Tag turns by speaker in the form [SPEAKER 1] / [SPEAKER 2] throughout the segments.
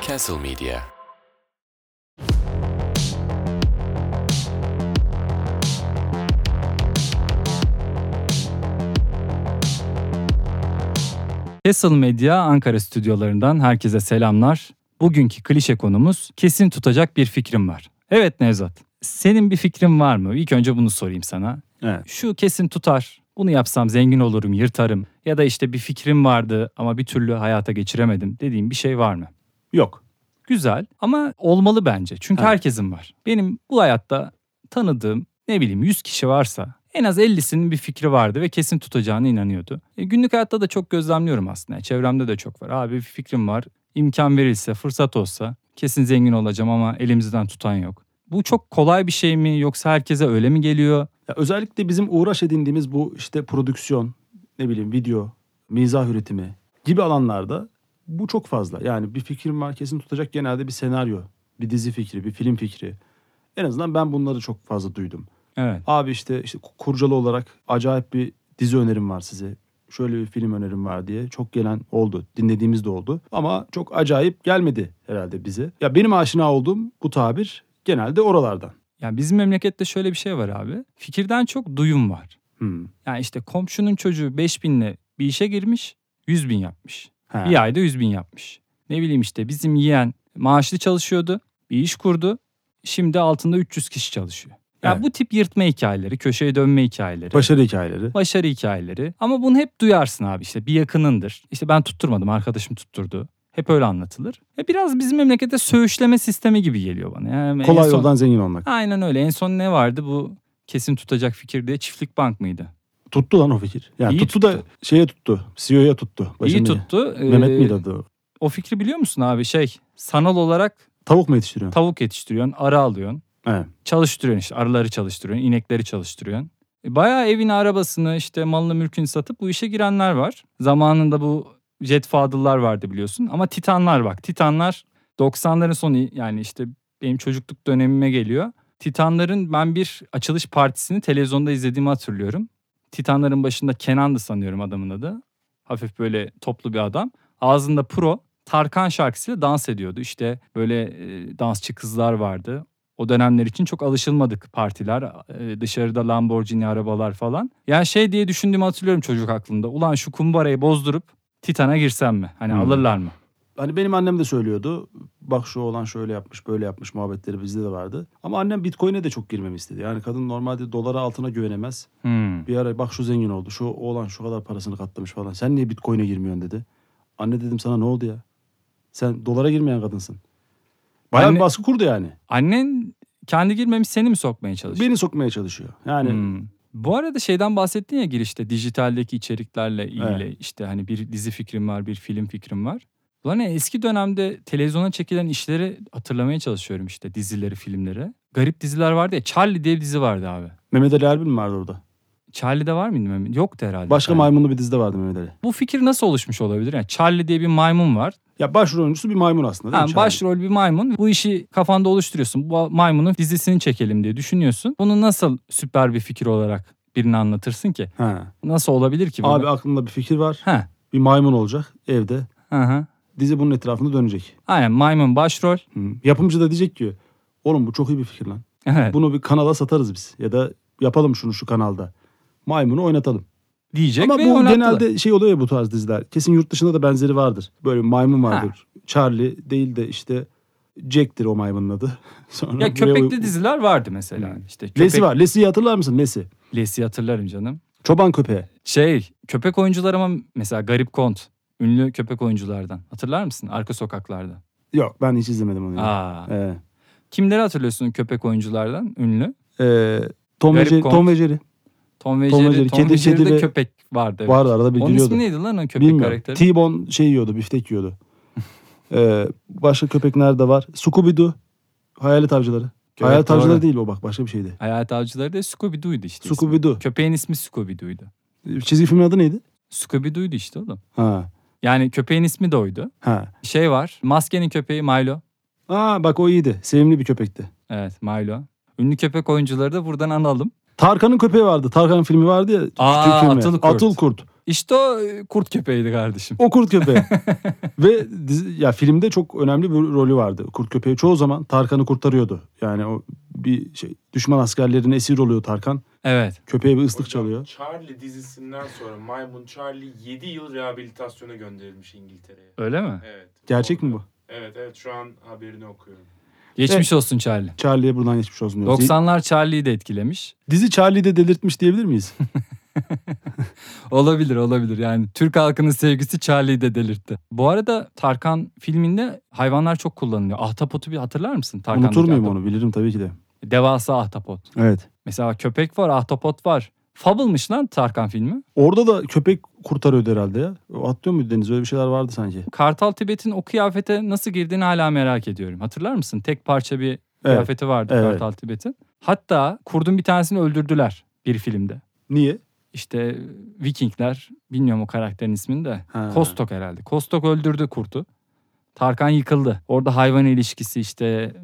[SPEAKER 1] Castle Media.
[SPEAKER 2] Castle Media Ankara stüdyolarından herkese selamlar. Bugünkü klişe konumuz kesin tutacak bir fikrim var. Evet Nevzat, senin bir fikrin var mı? İlk önce bunu sorayım sana.
[SPEAKER 3] Evet.
[SPEAKER 2] Şu kesin tutar, bunu yapsam zengin olurum, yırtarım. Ya da işte bir fikrim vardı ama bir türlü hayata geçiremedim dediğim bir şey var mı?
[SPEAKER 3] Yok.
[SPEAKER 2] Güzel ama olmalı bence. Çünkü
[SPEAKER 3] Evet.
[SPEAKER 2] herkesin var. Benim bu hayatta tanıdığım ne bileyim 100 kişi varsa en az 50'sinin bir fikri vardı ve kesin tutacağına inanıyordu. E, günlük hayatta da çok gözlemliyorum aslında. Yani Çevremde de çok var. Abi bir fikrim var. İmkan verilse, fırsat olsa kesin zengin olacağım ama elimizden tutan yok. Bu çok kolay bir şey mi yoksa herkese öyle mi geliyor?
[SPEAKER 3] Ya özellikle bizim uğraş edindiğimiz bu işte prodüksiyon, ne bileyim video, mizah üretimi gibi alanlarda bu çok fazla. Yani bir fikrim var kesin tutacak genelde bir senaryo, bir dizi fikri, bir film fikri. En azından ben bunları çok fazla duydum.
[SPEAKER 2] Evet.
[SPEAKER 3] Abi işte, işte kurcalı olarak acayip bir dizi önerim var size. Şöyle bir film önerim var diye çok gelen oldu. Dinlediğimiz de oldu. Ama çok acayip gelmedi herhalde bize. Ya benim aşina olduğum bu tabir genelde oralardan.
[SPEAKER 2] Yani bizim memlekette şöyle bir şey var abi. Fikirden çok duyum var.
[SPEAKER 3] Hmm.
[SPEAKER 2] Yani işte komşunun çocuğu 5000'le bir işe girmiş, 100 bin yapmış.
[SPEAKER 3] Ha.
[SPEAKER 2] Bir ayda 100 bin yapmış. Ne bileyim işte bizim yeğen maaşlı çalışıyordu. Bir iş kurdu. Şimdi altında 300 kişi çalışıyor. Ya
[SPEAKER 3] Evet.
[SPEAKER 2] bu tip yırtma hikayeleri, köşeye dönme hikayeleri.
[SPEAKER 3] Başarı hikayeleri.
[SPEAKER 2] Başarı hikayeleri. Ama bunu hep duyarsın abi işte bir yakınındır. İşte ben tutturmadım arkadaşım tutturdu. Hep öyle anlatılır. E biraz bizim memlekette söğüşleme sistemi gibi geliyor bana. Yani en
[SPEAKER 3] Kolay
[SPEAKER 2] son-
[SPEAKER 3] yoldan zengin olmak.
[SPEAKER 2] Aynen öyle. En son ne vardı bu kesin tutacak fikir diye çiftlik bank mıydı?
[SPEAKER 3] Tuttu lan o fikir. Yani
[SPEAKER 2] İyi
[SPEAKER 3] tuttu, da
[SPEAKER 2] tuttu.
[SPEAKER 3] şeye tuttu. CEO'ya tuttu.
[SPEAKER 2] İyi
[SPEAKER 3] Başını-
[SPEAKER 2] tuttu. Ee,
[SPEAKER 3] Mehmet miydi adı? o?
[SPEAKER 2] O fikri biliyor musun abi şey sanal olarak
[SPEAKER 3] Tavuk mu yetiştiriyor?
[SPEAKER 2] Tavuk yetiştiriyorsun, arı alıyorsun.
[SPEAKER 3] Evet.
[SPEAKER 2] Çalıştırıyorsun işte arıları çalıştırıyorsun, inekleri çalıştırıyorsun. E, Bayağı evini, arabasını, işte malını, mülkünü satıp bu işe girenler var. Zamanında bu jet fadıllar vardı biliyorsun ama titanlar bak. Titanlar 90'ların sonu yani işte benim çocukluk dönemime geliyor. Titanların ben bir açılış partisini televizyonda izlediğimi hatırlıyorum. Titanların başında Kenan'dı sanıyorum adamın adı. Hafif böyle toplu bir adam. Ağzında pro Tarkan şarkısıyla dans ediyordu. İşte böyle e, dansçı kızlar vardı. O dönemler için çok alışılmadık partiler. e, dışarıda Lamborghini arabalar falan. Yani şey diye düşündüğümü hatırlıyorum çocuk aklımda. Ulan şu kumbarayı bozdurup Titan'a girsem mi? Hani
[SPEAKER 3] Hmm.
[SPEAKER 2] alırlar mı?
[SPEAKER 3] Hani benim annem de söylüyordu. Bak şu olan şöyle yapmış böyle yapmış muhabbetleri bizde de vardı. Ama annem bitcoin'e de çok girmemi istedi. Yani kadın normalde dolara altına güvenemez.
[SPEAKER 2] Hmm.
[SPEAKER 3] Bir ara bak şu zengin oldu. Şu oğlan şu kadar parasını katlamış falan. Sen niye bitcoin'e girmiyorsun dedi. Anne dedim sana ne oldu ya? Sen dolara girmeyen kadınsın. Bayağı
[SPEAKER 2] Anne-
[SPEAKER 3] bir baskı kurdu yani.
[SPEAKER 2] Annen kendi girmemiş seni mi sokmaya çalışıyor?
[SPEAKER 3] Beni sokmaya çalışıyor. Yani
[SPEAKER 2] Hmm. Bu arada şeyden bahsettin ya girişte dijitaldeki içeriklerle ilgili
[SPEAKER 3] Evet.
[SPEAKER 2] işte hani bir dizi fikrim var bir film fikrim var. Ulan ya eski dönemde televizyona çekilen işleri hatırlamaya çalışıyorum işte dizileri filmleri. Garip diziler vardı ya Charlie diye bir dizi vardı abi.
[SPEAKER 3] Mehmet Ali Erbil mi vardı orada?
[SPEAKER 2] Charlie'de var mıydı Mehmet? Yoktu herhalde.
[SPEAKER 3] Başka
[SPEAKER 2] Charlie.
[SPEAKER 3] maymunlu bir dizide vardı Mehmet Ali.
[SPEAKER 2] Bu fikir nasıl oluşmuş olabilir? Yani Charlie diye bir maymun var.
[SPEAKER 3] Ya başrol oyuncusu bir maymun aslında değil
[SPEAKER 2] Ha,
[SPEAKER 3] mi? Charlie?
[SPEAKER 2] başrol bir maymun. Bu işi kafanda oluşturuyorsun. Bu maymunun dizisini çekelim diye düşünüyorsun. Bunu nasıl süper bir fikir olarak birine anlatırsın ki?
[SPEAKER 3] Ha.
[SPEAKER 2] Nasıl olabilir ki? bu?
[SPEAKER 3] Abi aklımda bir fikir var.
[SPEAKER 2] Ha.
[SPEAKER 3] Bir maymun olacak evde.
[SPEAKER 2] Hı hı.
[SPEAKER 3] Dizi bunun etrafında dönecek.
[SPEAKER 2] Aynen maymun başrol.
[SPEAKER 3] Hı. Yapımcı da diyecek ki oğlum bu çok iyi bir fikir lan.
[SPEAKER 2] Evet.
[SPEAKER 3] Bunu bir kanala satarız biz. Ya da yapalım şunu şu kanalda. Maymunu oynatalım.
[SPEAKER 2] diyecek
[SPEAKER 3] Ama
[SPEAKER 2] ve
[SPEAKER 3] bu
[SPEAKER 2] oynattılar.
[SPEAKER 3] genelde şey oluyor ya bu tarz diziler. Kesin yurt dışında da benzeri vardır. Böyle bir maymun vardır. Charlie değil de işte Jack'tir o maymunun adı. Sonra
[SPEAKER 2] Ya köpekli
[SPEAKER 3] dizi.
[SPEAKER 2] diziler vardı mesela.
[SPEAKER 3] Hmm.
[SPEAKER 2] İşte köpek,
[SPEAKER 3] Lesi var. Lesi'yi hatırlar mısın? Lesi.
[SPEAKER 2] Lesi hatırlarım canım.
[SPEAKER 3] Çoban köpeği.
[SPEAKER 2] Şey köpek oyuncular ama mesela Garip Kont. Ünlü köpek oyunculardan. Hatırlar mısın? Arka sokaklarda.
[SPEAKER 3] Yok ben hiç izlemedim onu. ya.
[SPEAKER 2] Aa.
[SPEAKER 3] Ee,
[SPEAKER 2] Kimleri hatırlıyorsun köpek oyunculardan ünlü?
[SPEAKER 3] e, Tom, ve
[SPEAKER 2] Garip
[SPEAKER 3] Jerry,
[SPEAKER 2] Kont.
[SPEAKER 3] Tom ve Jerry.
[SPEAKER 2] Tom ve
[SPEAKER 3] Tom ve
[SPEAKER 2] Jerry.
[SPEAKER 3] Jerry,
[SPEAKER 2] Tom ve
[SPEAKER 3] kedi,
[SPEAKER 2] Jerry'de
[SPEAKER 3] kedi ve-
[SPEAKER 2] köpek vardı. Evet.
[SPEAKER 3] Vardı arada bir
[SPEAKER 2] Onun
[SPEAKER 3] gülüyordu.
[SPEAKER 2] ismi neydi lan o köpek
[SPEAKER 3] Bilmiyorum.
[SPEAKER 2] karakteri?
[SPEAKER 3] T-Bone şey yiyordu, biftek yiyordu. ee, başka köpek nerede var? Scooby-Doo. Hayalet avcıları.
[SPEAKER 2] Evet,
[SPEAKER 3] Hayalet avcıları
[SPEAKER 2] doğru.
[SPEAKER 3] değil o bak başka bir şeydi.
[SPEAKER 2] Hayat Avcıları da Scooby-Doo'ydu işte. ismi.
[SPEAKER 3] Scooby-Doo.
[SPEAKER 2] Köpeğin ismi Scooby-Doo'ydu.
[SPEAKER 3] Çizgi filmin adı neydi?
[SPEAKER 2] Scooby-Doo'ydu işte oğlum.
[SPEAKER 3] Ha.
[SPEAKER 2] Yani köpeğin ismi de oydu.
[SPEAKER 3] Ha.
[SPEAKER 2] Şey var. Maskenin köpeği Milo.
[SPEAKER 3] Aa bak o iyiydi. Sevimli bir köpekti.
[SPEAKER 2] Evet Milo. Ünlü köpek oyuncuları da buradan analım.
[SPEAKER 3] Tarkan'ın köpeği vardı. Tarkan filmi vardı ya.
[SPEAKER 2] Aa,
[SPEAKER 3] küçük filmi.
[SPEAKER 2] Atıl Kurt.
[SPEAKER 3] Atıl Kurt.
[SPEAKER 2] İşte o e, kurt köpeğiydi kardeşim.
[SPEAKER 3] O kurt köpeği. Ve dizi- ya filmde çok önemli bir rolü vardı. Kurt köpeği çoğu zaman Tarkan'ı kurtarıyordu. Yani o bir şey düşman askerlerine esir oluyor Tarkan.
[SPEAKER 2] Evet.
[SPEAKER 3] Köpeğe bir ıslık
[SPEAKER 1] Hocam,
[SPEAKER 3] çalıyor.
[SPEAKER 1] Charlie dizisinden sonra Maymun Charlie 7 yıl rehabilitasyona gönderilmiş İngiltere'ye.
[SPEAKER 2] Öyle mi?
[SPEAKER 1] Evet.
[SPEAKER 3] Gerçek mi bu?
[SPEAKER 1] Evet evet şu an haberini okuyorum.
[SPEAKER 2] Geçmiş olsun Charlie.
[SPEAKER 3] Charlie'ye buradan geçmiş olsun diyoruz.
[SPEAKER 2] 90'lar Charlie'yi de etkilemiş.
[SPEAKER 3] Dizi Charlie'yi de delirtmiş diyebilir miyiz?
[SPEAKER 2] Olabilir olabilir yani Türk halkının sevgisi Charlie'yi de delirtti. Bu arada Tarkan filminde hayvanlar çok kullanılıyor. Ahtapotu bir hatırlar mısın? Tarkan'daki
[SPEAKER 3] Unutur muyum
[SPEAKER 2] ahtapot.
[SPEAKER 3] onu? Bilirim tabii ki de.
[SPEAKER 2] Devasa ahtapot.
[SPEAKER 3] Evet.
[SPEAKER 2] Mesela köpek var ahtapot var. Fable'mış lan Tarkan filmi.
[SPEAKER 3] Orada da köpek kurtarıyordu herhalde ya. O Atlıyor muydu deniz? Öyle bir şeyler vardı sanki.
[SPEAKER 2] Kartal Tibet'in o kıyafete nasıl girdiğini hala merak ediyorum. Hatırlar mısın? Tek parça bir kıyafeti vardı
[SPEAKER 3] Evet.
[SPEAKER 2] Kartal Tibet'in. Hatta kurdun bir tanesini öldürdüler bir filmde.
[SPEAKER 3] Niye?
[SPEAKER 2] İşte Vikingler bilmiyorum o karakterin ismini de.
[SPEAKER 3] Ha.
[SPEAKER 2] Kostok herhalde. Kostok öldürdü kurtu. Tarkan yıkıldı. Orada hayvan ilişkisi işte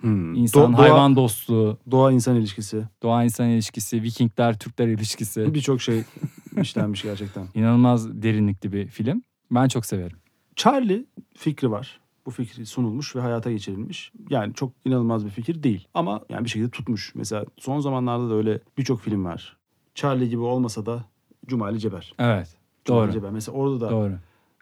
[SPEAKER 3] Hmm.
[SPEAKER 2] insan
[SPEAKER 3] Do- doğa-
[SPEAKER 2] hayvan dostluğu,
[SPEAKER 3] Doğa insan ilişkisi.
[SPEAKER 2] doğa insan ilişkisi, Vikingler Türkler ilişkisi.
[SPEAKER 3] Birçok şey işlenmiş gerçekten.
[SPEAKER 2] İnanılmaz derinlikli bir film. Ben çok severim.
[SPEAKER 3] Charlie fikri var. Bu fikri sunulmuş ve hayata geçirilmiş. Yani çok inanılmaz bir fikir değil. Ama yani bir şekilde tutmuş. Mesela son zamanlarda da öyle birçok film var. Charlie gibi olmasa da Cumali Ceber.
[SPEAKER 2] Evet.
[SPEAKER 3] Cumali
[SPEAKER 2] Doğru.
[SPEAKER 3] Ceber. Mesela orada da
[SPEAKER 2] Doğru.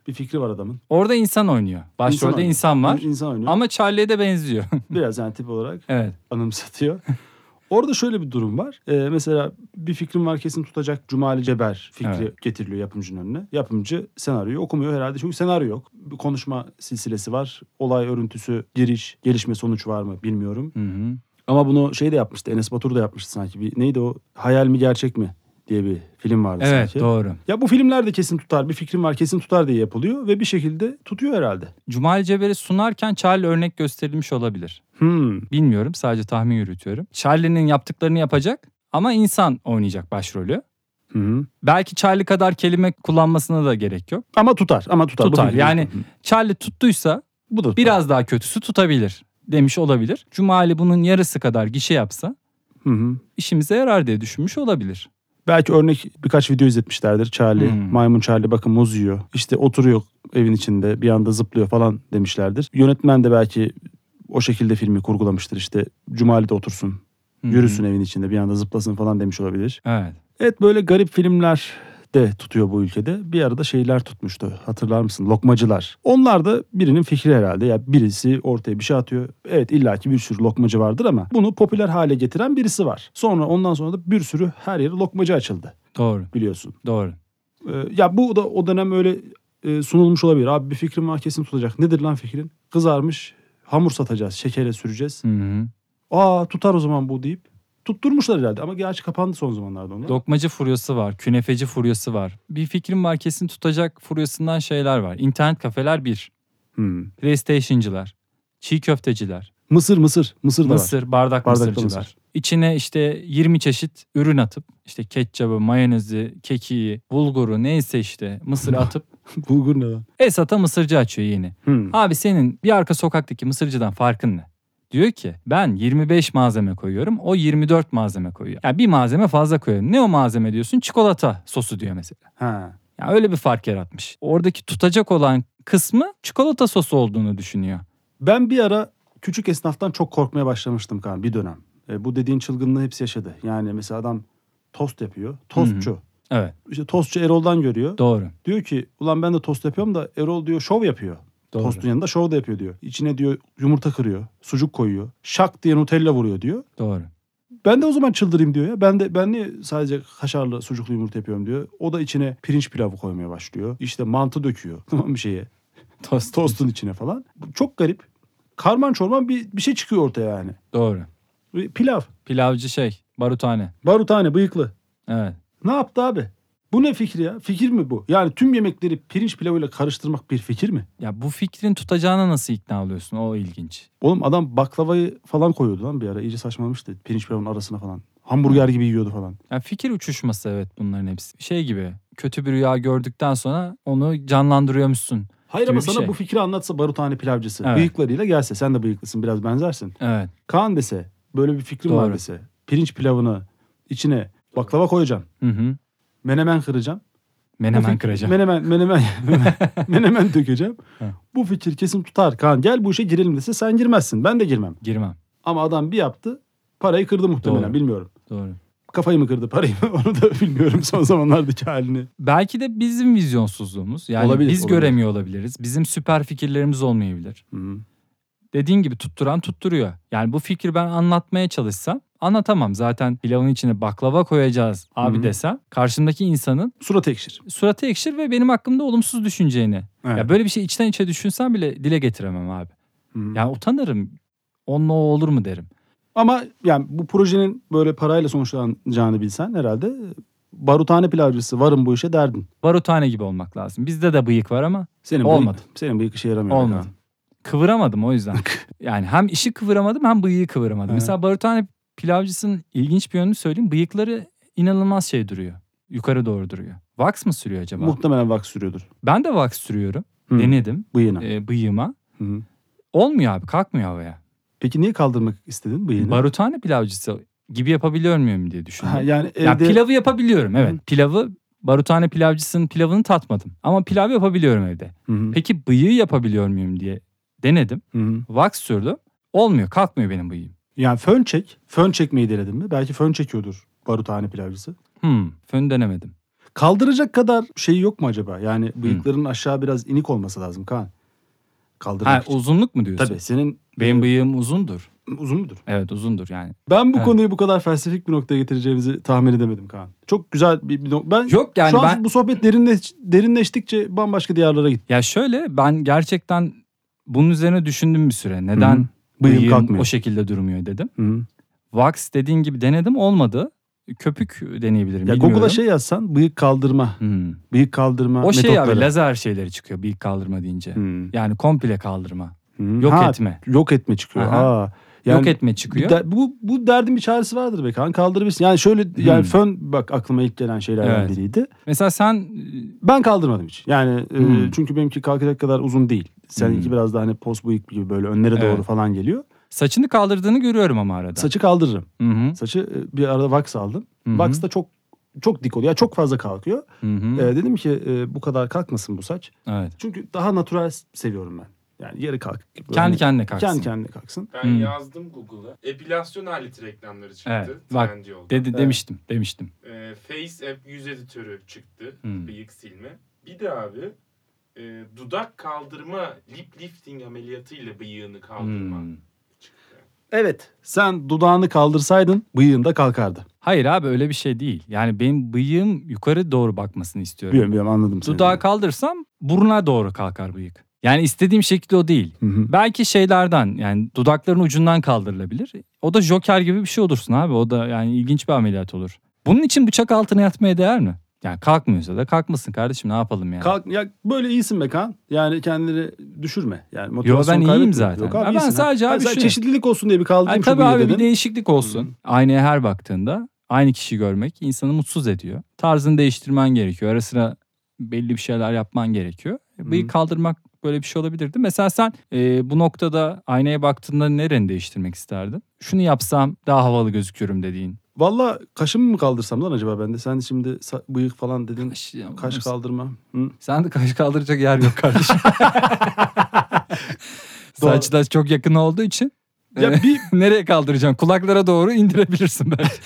[SPEAKER 3] bir fikri var adamın.
[SPEAKER 2] Orada insan oynuyor.
[SPEAKER 3] İnsan
[SPEAKER 2] Başrolde
[SPEAKER 3] oynuyor.
[SPEAKER 2] insan var.
[SPEAKER 3] İnsan oynuyor.
[SPEAKER 2] Ama Charlie'ye de benziyor.
[SPEAKER 3] Biraz yani tip olarak
[SPEAKER 2] evet.
[SPEAKER 3] anımsatıyor. Orada şöyle bir durum var. Ee, mesela bir fikrim var kesin tutacak Cumali Ceber fikri
[SPEAKER 2] Evet.
[SPEAKER 3] getiriliyor yapımcının önüne. Yapımcı senaryoyu okumuyor herhalde çünkü senaryo yok. Bir konuşma silsilesi var. Olay örüntüsü, giriş, gelişme sonuç var mı bilmiyorum.
[SPEAKER 2] Hı hı.
[SPEAKER 3] Ama bunu şey de yapmıştı. Enes Batur da yapmıştı sanki. Bir, neydi o? Hayal mi gerçek mi diye bir film vardı
[SPEAKER 2] Evet
[SPEAKER 3] sanki.
[SPEAKER 2] doğru.
[SPEAKER 3] Ya bu filmler de kesin tutar. Bir fikrim var kesin tutar diye yapılıyor ve bir şekilde tutuyor herhalde.
[SPEAKER 2] Cumali Ceber'i sunarken Charlie örnek gösterilmiş olabilir.
[SPEAKER 3] Hmm.
[SPEAKER 2] Bilmiyorum sadece tahmin yürütüyorum. Charlie'nin yaptıklarını yapacak ama insan oynayacak başrolü.
[SPEAKER 3] Hı hı.
[SPEAKER 2] Belki Charlie kadar kelime kullanmasına da gerek yok.
[SPEAKER 3] Ama tutar. Ama tutar. Bu
[SPEAKER 2] Tutar.
[SPEAKER 3] fikri-
[SPEAKER 2] Yani- Charlie tuttuysa
[SPEAKER 3] bu da tutar.
[SPEAKER 2] biraz daha kötüsü tutabilir demiş olabilir. Cumali bunun yarısı kadar gişe yapsa
[SPEAKER 3] Hı hı.
[SPEAKER 2] işimize yarar diye düşünmüş olabilir.
[SPEAKER 3] Belki örnek birkaç video izletmişlerdir. Charlie,
[SPEAKER 2] Hmm.
[SPEAKER 3] maymun Charlie bakın muz yiyor. İşte oturuyor evin içinde bir anda zıplıyor falan demişlerdir. Yönetmen de belki o şekilde filmi kurgulamıştır işte. Cumali de otursun,
[SPEAKER 2] Hı hı.
[SPEAKER 3] yürüsün evin içinde bir anda zıplasın falan demiş olabilir.
[SPEAKER 2] Evet.
[SPEAKER 3] Evet böyle garip filmler de tutuyor bu ülkede. Bir arada şeyler tutmuştu. Hatırlar mısın? Lokmacılar. Onlar da birinin fikri herhalde. Ya birisi ortaya bir şey atıyor. Evet illaki bir sürü lokmacı vardır ama bunu popüler hale getiren birisi var. Sonra ondan sonra da bir sürü her yere lokmacı açıldı
[SPEAKER 2] Doğru.
[SPEAKER 3] biliyorsun.
[SPEAKER 2] Doğru.
[SPEAKER 3] Ee, ya bu da o dönem öyle e, sunulmuş olabilir. Abi bir fikrim var kesin tutacak. Nedir lan fikrin? Kızarmış hamur satacağız, şekere süreceğiz.
[SPEAKER 2] Hı hı.
[SPEAKER 3] Aa tutar o zaman bu deyip tutturmuşlar herhalde ama gerçi kapandı son zamanlarda onlar.
[SPEAKER 2] Lokmacı furyası var, künefeci furyası var. Bir fikrim var kesin tutacak furyasından şeyler var. İnternet kafeler bir,
[SPEAKER 3] Hmm.
[SPEAKER 2] PlayStation'cılar, çiğ köfteciler,
[SPEAKER 3] Mısır mısır mısır da var.
[SPEAKER 2] mısır, bardak
[SPEAKER 3] Bardaklı
[SPEAKER 2] mısırcılar.
[SPEAKER 3] mısır.
[SPEAKER 2] İçine işte 20 çeşit ürün atıp işte ketçabı, mayonezi, kekiği, bulguru neyse işte mısır atıp
[SPEAKER 3] Bulgur ne lan?
[SPEAKER 2] Esat'a mısırcı açıyor yeni.
[SPEAKER 3] Hmm.
[SPEAKER 2] Abi senin bir arka sokaktaki mısırcıdan farkın ne? Diyor ki ben 25 malzeme koyuyorum o 24 malzeme koyuyor. Yani bir malzeme fazla koyuyorum. Ne o malzeme diyorsun? Çikolata sosu diyor mesela.
[SPEAKER 3] Ha.
[SPEAKER 2] Yani öyle bir fark yaratmış. Oradaki tutacak olan kısmı çikolata sosu olduğunu düşünüyor.
[SPEAKER 3] Ben bir ara küçük esnaftan çok korkmaya başlamıştım kan bir dönem. E, bu dediğin çılgınlığı hepsi yaşadı. Yani mesela adam tost yapıyor. Tostçu.
[SPEAKER 2] Evet
[SPEAKER 3] İşte tostçu Erol'dan görüyor.
[SPEAKER 2] doğru.
[SPEAKER 3] Diyor ki ulan ben de tost yapıyorum da Erol diyor şov yapıyor.
[SPEAKER 2] Doğru.
[SPEAKER 3] Tostun yanında şov da yapıyor diyor. İçine diyor yumurta kırıyor, sucuk koyuyor. Şak diye Nutella vuruyor diyor.
[SPEAKER 2] Doğru.
[SPEAKER 3] Ben de o zaman çıldırayım diyor ya. Ben de ben niye sadece kaşarlı sucuklu yumurta yapıyorum diyor. O da içine pirinç pilavı koymaya başlıyor. İşte mantı döküyor tamam bir şeye.
[SPEAKER 2] Tost.
[SPEAKER 3] Tostun içine falan. Bu Çok garip. Karman çorman bir, bir şey çıkıyor ortaya yani.
[SPEAKER 2] Doğru.
[SPEAKER 3] Ve Pilav,
[SPEAKER 2] Pilavcı şey barutane.
[SPEAKER 3] barutane, bıyıklı.
[SPEAKER 2] Evet.
[SPEAKER 3] Ne yaptı abi? Bu ne fikri ya? Fikir mi bu? Yani tüm yemekleri pirinç pilavıyla karıştırmak bir fikir mi?
[SPEAKER 2] Ya bu fikrin tutacağına nasıl ikna oluyorsun? O ilginç.
[SPEAKER 3] Oğlum adam baklavayı falan koyuyordu lan bir ara. İyice saçmalamıştı pirinç pilavın arasına falan. Hamburger gibi yiyordu falan.
[SPEAKER 2] Ya fikir uçuşması evet bunların hepsi. Şey gibi kötü bir rüya gördükten sonra onu canlandırıyormuşsun.
[SPEAKER 3] Hayır
[SPEAKER 2] Gibi
[SPEAKER 3] ama
[SPEAKER 2] bir
[SPEAKER 3] sana
[SPEAKER 2] şey.
[SPEAKER 3] bu fikri anlatsa barutane pilavcısı.
[SPEAKER 2] Evet.
[SPEAKER 3] Bıyıklarıyla gelse sen de bıyıklısın biraz benzersin.
[SPEAKER 2] Evet
[SPEAKER 3] Kaan dese böyle bir fikrim var
[SPEAKER 2] Doğru.
[SPEAKER 3] dese. Pirinç pilavını içine baklava koyacağım.
[SPEAKER 2] hı hı.
[SPEAKER 3] Menemen kıracağım.
[SPEAKER 2] Menemen
[SPEAKER 3] Bu fik-
[SPEAKER 2] kıracağım.
[SPEAKER 3] Menemen, menemen, menemen dökeceğim.
[SPEAKER 2] Ha.
[SPEAKER 3] Bu fikir kesin tutar Kaan. Gel bu işe girelim dese sen girmezsin. Ben de girmem.
[SPEAKER 2] Girmem.
[SPEAKER 3] Ama adam bir yaptı. Parayı kırdı muhtemelen
[SPEAKER 2] Doğru.
[SPEAKER 3] bilmiyorum.
[SPEAKER 2] Doğru.
[SPEAKER 3] Kafayı mı kırdı parayı mı onu da bilmiyorum son zamanlardaki halini.
[SPEAKER 2] Belki de bizim vizyonsuzluğumuz. Yani
[SPEAKER 3] Olabilir,
[SPEAKER 2] biz
[SPEAKER 3] olabilir.
[SPEAKER 2] göremiyor olabiliriz. Bizim süper fikirlerimiz olmayabilir.
[SPEAKER 3] Hı.
[SPEAKER 2] Dediğin gibi tutturan tutturuyor. Yani bu fikri ben anlatmaya çalışsam anlatamam. Zaten pilavın içine baklava koyacağız abi
[SPEAKER 3] Hı hı.
[SPEAKER 2] desem karşımdaki insanın
[SPEAKER 3] Surat ekşir.
[SPEAKER 2] suratı ekşir ve benim hakkımda olumsuz düşüneceğini.
[SPEAKER 3] Evet.
[SPEAKER 2] Ya böyle bir şey içten içe düşünsem bile dile getiremem abi.
[SPEAKER 3] Hı.
[SPEAKER 2] Yani utanırım. Onunla o olur mu derim.
[SPEAKER 3] Ama yani bu projenin böyle parayla sonuçlanacağını bilsen herhalde barutane pilavcısı varım bu işe derdin.
[SPEAKER 2] Barutane gibi olmak lazım. Bizde de bıyık var ama
[SPEAKER 3] Senin
[SPEAKER 2] Olmadı.
[SPEAKER 3] Bıyık, senin bıyık işe yaramıyor.
[SPEAKER 2] Olmadı. kıvıramadım o yüzden. yani hem işi kıvıramadım hem bıyığı kıvıramadım.
[SPEAKER 3] Evet.
[SPEAKER 2] Mesela Barutane pilavcısının ilginç bir yönünü söyleyeyim. Bıyıkları inanılmaz şey duruyor. Yukarı doğru duruyor. Wax mı sürüyor acaba?
[SPEAKER 3] Muhtemelen vak sürüyordur.
[SPEAKER 2] ben de wax sürüyorum.
[SPEAKER 3] Hı.
[SPEAKER 2] Denedim
[SPEAKER 3] Bıyığına.
[SPEAKER 2] e, bıyığıma.
[SPEAKER 3] Hı.
[SPEAKER 2] Olmuyor abi kalkmıyor havaya.
[SPEAKER 3] Peki niye kaldırmak istedin bıyığını?
[SPEAKER 2] Barutane pilavcısı gibi yapabiliyor muyum diye düşündüm.
[SPEAKER 3] Ha, yani evde...
[SPEAKER 2] Ya pilavı yapabiliyorum evet. Pilavı Barutane pilavcısının pilavını tatmadım. Ama pilav yapabiliyorum evde.
[SPEAKER 3] Hı hı,
[SPEAKER 2] Peki bıyığı yapabiliyor muyum diye denedim.
[SPEAKER 3] hı hı.
[SPEAKER 2] Wax sürdüm. Olmuyor. Kalkmıyor benim bıyığım.
[SPEAKER 3] Yani fön çek. Fön çekmeyi denedin mi? Belki fön çekiyordur barutane pilavcısı.
[SPEAKER 2] Hmm. Fön denemedim.
[SPEAKER 3] Kaldıracak kadar şey yok mu acaba? Yani bıyıkların aşağı biraz inik olması lazım Kaan. Kaldırmak
[SPEAKER 2] Ha,
[SPEAKER 3] için.
[SPEAKER 2] uzunluk mu diyorsun?
[SPEAKER 3] Tabii Ee, senin
[SPEAKER 2] Benim bıyığım uzundur.
[SPEAKER 3] uzun mudur?
[SPEAKER 2] Evet uzundur yani.
[SPEAKER 3] Ben bu
[SPEAKER 2] Ha.
[SPEAKER 3] konuyu bu kadar felsefik bir noktaya getireceğimizi tahmin edemedim Kaan. Çok güzel bir, bir nok- Ben
[SPEAKER 2] Yok yani
[SPEAKER 3] şu an
[SPEAKER 2] ben
[SPEAKER 3] bu sohbet derinleş, derinleştikçe bambaşka diyarlara gitti.
[SPEAKER 2] ya şöyle ben gerçekten bunun üzerine düşündüm bir süre.
[SPEAKER 3] Hı
[SPEAKER 2] Neden
[SPEAKER 3] hı. Bıyığım,
[SPEAKER 2] bıyığım
[SPEAKER 3] kalkmıyor.
[SPEAKER 2] o şekilde durmuyor dedim.
[SPEAKER 3] Hı hı.
[SPEAKER 2] Wax dediğin gibi denedim olmadı. Köpük deneyebilirim.
[SPEAKER 3] Ya
[SPEAKER 2] bilmiyorum.
[SPEAKER 3] Google'a şey yazsan bıyık kaldırma,
[SPEAKER 2] Hmm.
[SPEAKER 3] bıyık kaldırma
[SPEAKER 2] O şey
[SPEAKER 3] metotları.
[SPEAKER 2] abi lazer şeyleri çıkıyor bıyık kaldırma deyince.
[SPEAKER 3] Hı
[SPEAKER 2] Yani komple kaldırma.
[SPEAKER 3] hı.
[SPEAKER 2] Yok
[SPEAKER 3] Ha,
[SPEAKER 2] etme.
[SPEAKER 3] Yok etme çıkıyor.
[SPEAKER 2] Aha.
[SPEAKER 3] Aa, yani
[SPEAKER 2] Yok etme
[SPEAKER 3] Bir
[SPEAKER 2] çıkıyor.
[SPEAKER 3] der- bu bu derdin bir çaresi vardır be Kaan. Kaldırabilirsin. Yani şöyle yani
[SPEAKER 2] Hmm.
[SPEAKER 3] fön bak aklıma ilk gelen şeylerden
[SPEAKER 2] Evet.
[SPEAKER 3] biriydi.
[SPEAKER 2] Mesela sen e,
[SPEAKER 3] Ben kaldırmadım hiç. Yani e,
[SPEAKER 2] Hmm.
[SPEAKER 3] çünkü benimki kalkacak kadar uzun değil. Seninki
[SPEAKER 2] Hmm.
[SPEAKER 3] biraz daha hani post bıyık gibi böyle önlere doğru
[SPEAKER 2] Evet.
[SPEAKER 3] falan geliyor.
[SPEAKER 2] saçını kaldırdığını görüyorum ama arada.
[SPEAKER 3] Saçı kaldırırım.
[SPEAKER 2] Hı hı,
[SPEAKER 3] Saçı e, bir arada wax aldım.
[SPEAKER 2] hı hı,
[SPEAKER 3] Wax da çok çok dik oluyor. Yani çok fazla kalkıyor.
[SPEAKER 2] hı hı.
[SPEAKER 3] E, dedim ki e, bu kadar kalkmasın bu saç.
[SPEAKER 2] Evet.
[SPEAKER 3] Çünkü daha natural seviyorum ben. Yani yarı kalk. gibi.
[SPEAKER 2] Kendi
[SPEAKER 3] Hani
[SPEAKER 2] kendine kalksın.
[SPEAKER 3] kendi kendine kalksın.
[SPEAKER 1] Ben
[SPEAKER 2] Hmm.
[SPEAKER 1] yazdım Google'a. Epilasyon aleti reklamları çıktı.
[SPEAKER 2] Evet, bak.
[SPEAKER 1] Trendyol'da.
[SPEAKER 2] Dedi,
[SPEAKER 3] Evet.
[SPEAKER 2] Demiştim, demiştim.
[SPEAKER 1] Ee, Face App yüz editörü çıktı.
[SPEAKER 2] Hmm.
[SPEAKER 1] Bıyık silme. Bir de abi e, dudak kaldırma lip lifting ameliyatıyla bıyığını kaldırma
[SPEAKER 2] Hmm.
[SPEAKER 1] çıktı.
[SPEAKER 3] Evet. Sen dudağını kaldırsaydın bıyığın da kalkardı.
[SPEAKER 2] Hayır abi öyle bir şey değil. Yani benim bıyığım yukarı doğru bakmasını istiyorum.
[SPEAKER 3] Biliyorum biliyorum anladım seni.
[SPEAKER 2] Dudağı kaldırsam buruna doğru kalkar bıyık. Yani istediğim şekilde o değil.
[SPEAKER 3] Hı hı.
[SPEAKER 2] Belki şeylerden yani dudakların ucundan kaldırılabilir. O da joker gibi bir şey olursun abi. O da yani ilginç bir ameliyat olur. Bunun için bıçak altına yatmaya değer mi? Yani kalkmıyorsa da kalkmasın kardeşim ne yapalım yani.
[SPEAKER 3] Kalk ya böyle iyisin be Kaan. Yani kendini düşürme. Yani
[SPEAKER 2] Yo
[SPEAKER 3] motivasyonu
[SPEAKER 2] ben iyiyim
[SPEAKER 3] kaybetme.
[SPEAKER 2] zaten.
[SPEAKER 3] Yok abi,
[SPEAKER 2] Ha, ben
[SPEAKER 3] iyisin.
[SPEAKER 2] sadece
[SPEAKER 3] Ha,
[SPEAKER 2] abi
[SPEAKER 3] sen
[SPEAKER 2] şu.
[SPEAKER 3] çeşitlilik olsun diye bir kaldırayım
[SPEAKER 2] Yani
[SPEAKER 3] şu
[SPEAKER 2] tabii
[SPEAKER 3] bıyığı
[SPEAKER 2] abi bir
[SPEAKER 3] dedin.
[SPEAKER 2] değişiklik olsun. Aynaya her baktığında aynı kişi görmek insanı mutsuz ediyor. Tarzını değiştirmen gerekiyor. Ara sıra belli bir şeyler yapman gerekiyor.
[SPEAKER 3] Hı.
[SPEAKER 2] Bıyık kaldırmak böyle bir şey olabilirdi. Mesela sen e, bu noktada aynaya baktığında nereni değiştirmek isterdin? Şunu yapsam daha havalı gözüküyorum dediğin.
[SPEAKER 3] Valla kaşımı mı kaldırsam lan acaba ben de? Sen şimdi sa- bıyık falan dedin.
[SPEAKER 2] Kaş,
[SPEAKER 3] Kaş kaldırma. Hı.
[SPEAKER 2] Sen de kaş kaldıracak yer yok kardeşim. Saçlar çok yakın olduğu için
[SPEAKER 3] Ya bir
[SPEAKER 2] nereye kaldıracaksın? Kulaklara doğru indirebilirsin belki.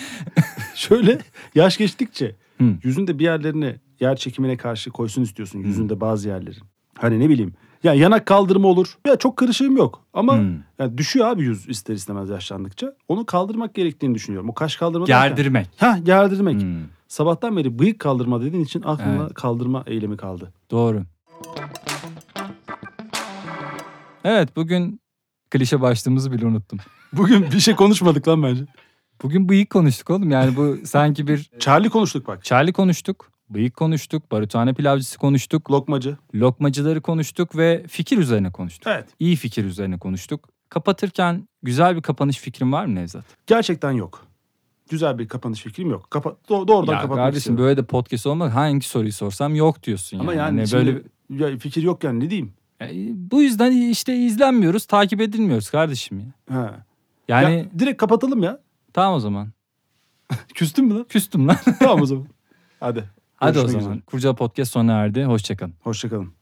[SPEAKER 3] şöyle yaş geçtikçe
[SPEAKER 2] Hı.
[SPEAKER 3] yüzünde bir yerlerini yer çekimine karşı koysun istiyorsun. Yüzünde bazı yerleri. Hani ne bileyim. Ya yanak kaldırma olur. Ya çok kırışığım yok. Ama
[SPEAKER 2] Hı.
[SPEAKER 3] ya düşüyor abi yüz ister istemez yaşlandıkça. Onu kaldırmak gerektiğini düşünüyorum. O kaş kaldırma derken-
[SPEAKER 2] Gerdirmek.
[SPEAKER 3] Hah gerdirmek.
[SPEAKER 2] Hmm.
[SPEAKER 3] Sabahtan beri bıyık kaldırma dediğin için aklımda
[SPEAKER 2] Evet.
[SPEAKER 3] kaldırma eylemi kaldı.
[SPEAKER 2] Doğru. Evet bugün klişe başlığımızı bile unuttum.
[SPEAKER 3] Bugün bir şey konuşmadık lan bence.
[SPEAKER 2] Bugün bıyık konuştuk oğlum. Yani bu sanki bir
[SPEAKER 3] Charlie konuştuk bak.
[SPEAKER 2] Charlie konuştuk, bıyık konuştuk, barutane pilavcısı konuştuk,
[SPEAKER 3] Lokmacı.
[SPEAKER 2] lokmacıları konuştuk ve fikir üzerine konuştuk.
[SPEAKER 3] Evet.
[SPEAKER 2] İyi fikir üzerine konuştuk. Kapatırken güzel bir kapanış fikrin var mı Nevzat?
[SPEAKER 3] Gerçekten yok. Güzel bir kapanış fikrim yok. Kapa doğ- doğrudan
[SPEAKER 2] ya
[SPEAKER 3] kapatmak
[SPEAKER 2] kardeşim
[SPEAKER 3] istiyorum.
[SPEAKER 2] böyle de podcast olmaz. Hangi soruyu sorsam yok diyorsun yani.
[SPEAKER 3] Ama yani,
[SPEAKER 2] Hani
[SPEAKER 3] böyle
[SPEAKER 2] böyle
[SPEAKER 3] ya fikir yok yani ne diyeyim?
[SPEAKER 2] E, bu yüzden işte izlenmiyoruz, takip edilmiyoruz kardeşim ya.
[SPEAKER 3] Ha.
[SPEAKER 2] Yani
[SPEAKER 3] Ya direkt kapatalım ya.
[SPEAKER 2] tamam o zaman.
[SPEAKER 3] Küstün mü lan?
[SPEAKER 2] Küstüm lan.
[SPEAKER 3] tamam o zaman. Hadi.
[SPEAKER 2] Hadi o
[SPEAKER 3] Görüşmek
[SPEAKER 2] zaman.
[SPEAKER 3] üzere.
[SPEAKER 2] Kurca Podcast sona erdi. Hoşçakalın.
[SPEAKER 3] Hoşçakalın.